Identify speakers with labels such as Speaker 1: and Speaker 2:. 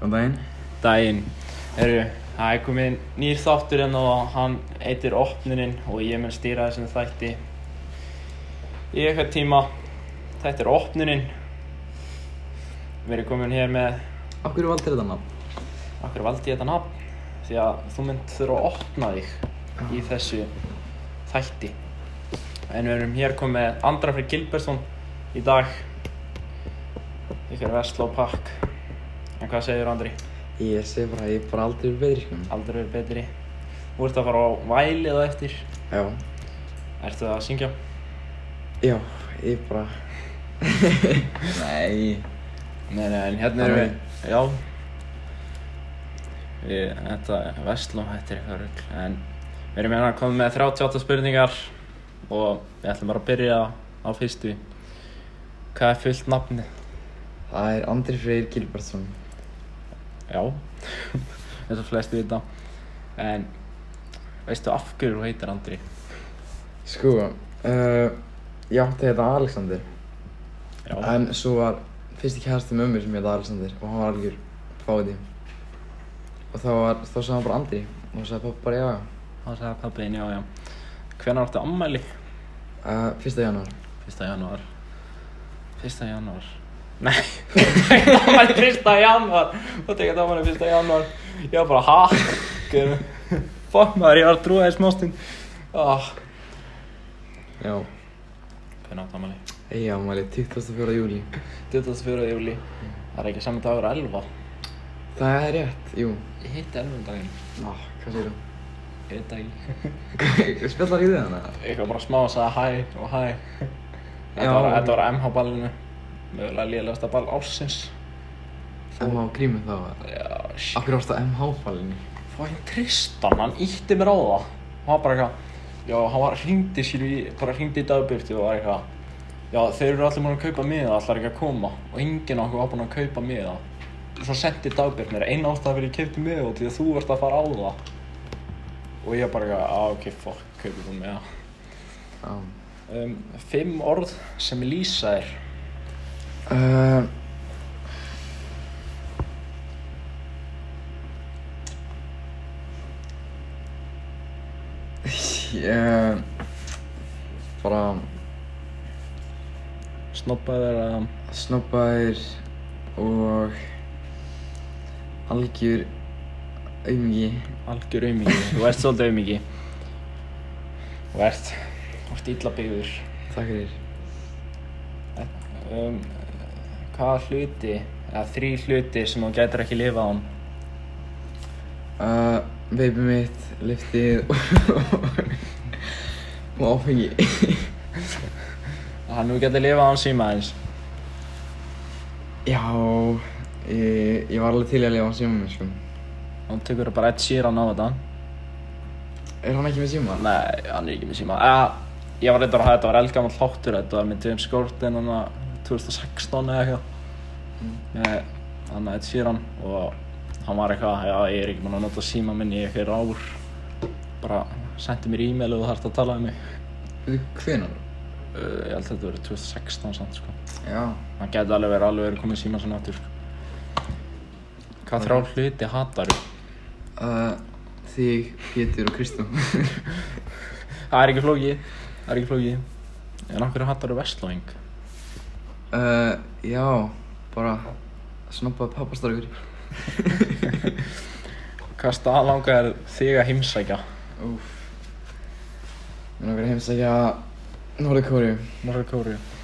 Speaker 1: Góðan daginn.
Speaker 2: daginn Herru, það er komið nýr þáttur hérna og hann heitir Opnunin og ég mun stýra þessum þætti í eitthvað tíma Þetta er Opnunin Við erum komin hér með
Speaker 1: Af hverju valdir þetta nafn?
Speaker 2: okkur valdi ég þetta nafn því að þú mynd þurfa að opna
Speaker 1: Ah.
Speaker 2: þig í þessu þætti en við erum hér komið með Andra Freyr Gilbertsson í dag ykkur Vestló Pakk en hvað segir Andri?
Speaker 1: Ég segi bara, ég er bara aldrei verið betri, sko.
Speaker 2: aldrei verið betri Þú ert að fara á væli eða eftir
Speaker 1: Já.
Speaker 2: Ertu að syngja?
Speaker 1: Já, ég er bara... Nei.
Speaker 2: Nei, nei, en hérna
Speaker 1: erum
Speaker 2: erum
Speaker 1: við.
Speaker 2: við Já Við, þetta er Vestló, þetta er eitthvað rugl En við erum hérna að koma með 38 spurningar Og við ætlum bara að byrja á fyrstu Hvað er fullt nafni?
Speaker 1: Það er Andri Freyr Gilbertsson.
Speaker 2: Já Þess að flestu vita En Veistu af hverju þú heitir Andri?
Speaker 1: Sko, uh, ég átti að heita Alexander.
Speaker 2: Já
Speaker 1: En svo var fyrsti kærasti með mér sem ég heita Alexander og hann var algjör fáti. Og þá var, þá sagði hann bara Andri og þá sagði pappa bara já, já.
Speaker 2: Það sagði pappiðin, já, já Hvenær áttu ammæli?
Speaker 1: Uh, fyrsta janúar.
Speaker 2: Fyrsta janúar Fyrsta janúar Nei, þú tekur það manni fyrsta janúar Þú tekur það manni fyrsta janúar Ég var bara, ha? Guð, Fuck maður, ég var að trúa þér smástinn ah.
Speaker 1: Já.
Speaker 2: Hvernig átt ámali?
Speaker 1: Ég ámæli 24. júli.
Speaker 2: 24. júli Það er ekki saman dagur að 11
Speaker 1: Það er rétt, jú.
Speaker 2: Ég hitti 11 um daginn
Speaker 1: Ná, hvað segir þú?
Speaker 2: Ég veit það ekki
Speaker 1: Spjallar í þið hana?
Speaker 2: Eitthvað bara smá að sagði hæ og hæ
Speaker 1: Já.
Speaker 2: Þetta var, þetta var MH ballinu Mögulega lélegasta ball ársins
Speaker 1: MH grímið þá var
Speaker 2: Já, shit
Speaker 1: Akkur varst á MH-falinni
Speaker 2: Fáinn Tristan, hann ítti mér á það og hann bara eitthvað já, hann var hringdi sílu í, bara hringdi í dagbyrti og var eitthvað já, þeir eru allir múin að kaupa miða, allar ekki að koma og enginn okkur var búin að kaupa miða svo sendi dagbyrti mér, eina ástæða fyrir ég keipti miða og því að þú varst að fara á það og ég bara eitthvað, á, ok, fuck, kaupið þú miða
Speaker 1: Já
Speaker 2: um, Fimm orð sem lýsa þér
Speaker 1: uh, Ég uh, Bara
Speaker 2: snoppaður að
Speaker 1: snobbaður og algjör aumingi
Speaker 2: algjör aumingi, þú ert svolítið aumingi þú ert, þú ert illa byggður
Speaker 1: Takk fyrir
Speaker 2: um, hvaða hluti eða þrý hluti sem þú gætir ekki lifa án
Speaker 1: uh, Baby mitt, liftið og áfengi
Speaker 2: hann þú gætir lifa án síma eins
Speaker 1: Já, ég, ég var alveg til í að lifa á síma minn, sko.
Speaker 2: hann tekur bara eitt síran á þetta
Speaker 1: Er hann ekki með síma?
Speaker 2: nei, hann er ekki með síma eða, ég var reyndar að hafa þetta var eldgammal hláttur þetta var með James Gordon hann að 2016 eða eitthvað Mm. með hann að eitt síran og hann var eitthvað, já ég er ekki mann að nota síma minn í eitthvað ár bara sendi mér e-mail og þú þarfst að tala um mig
Speaker 1: Veitu hvenar?
Speaker 2: uh, ég held að þetta verið 2016 samt sko
Speaker 1: Já.
Speaker 2: Það gæti alveg verið alveg verið komið síma svona aftur sko. Hvað þrjá hluti hatar
Speaker 1: Uh, þig, Pétur og Kristján.
Speaker 2: Það er ekki flókið Það er ekki flókið En okkur hatar þú vestlóing
Speaker 1: uh, já, bara snoppaði pappastarkur.
Speaker 2: Hvað stað langar þig að heimsækja?
Speaker 1: Úf. Mér er okkur að heimsækja Norður Kóriu.
Speaker 2: Norra Kóru Ég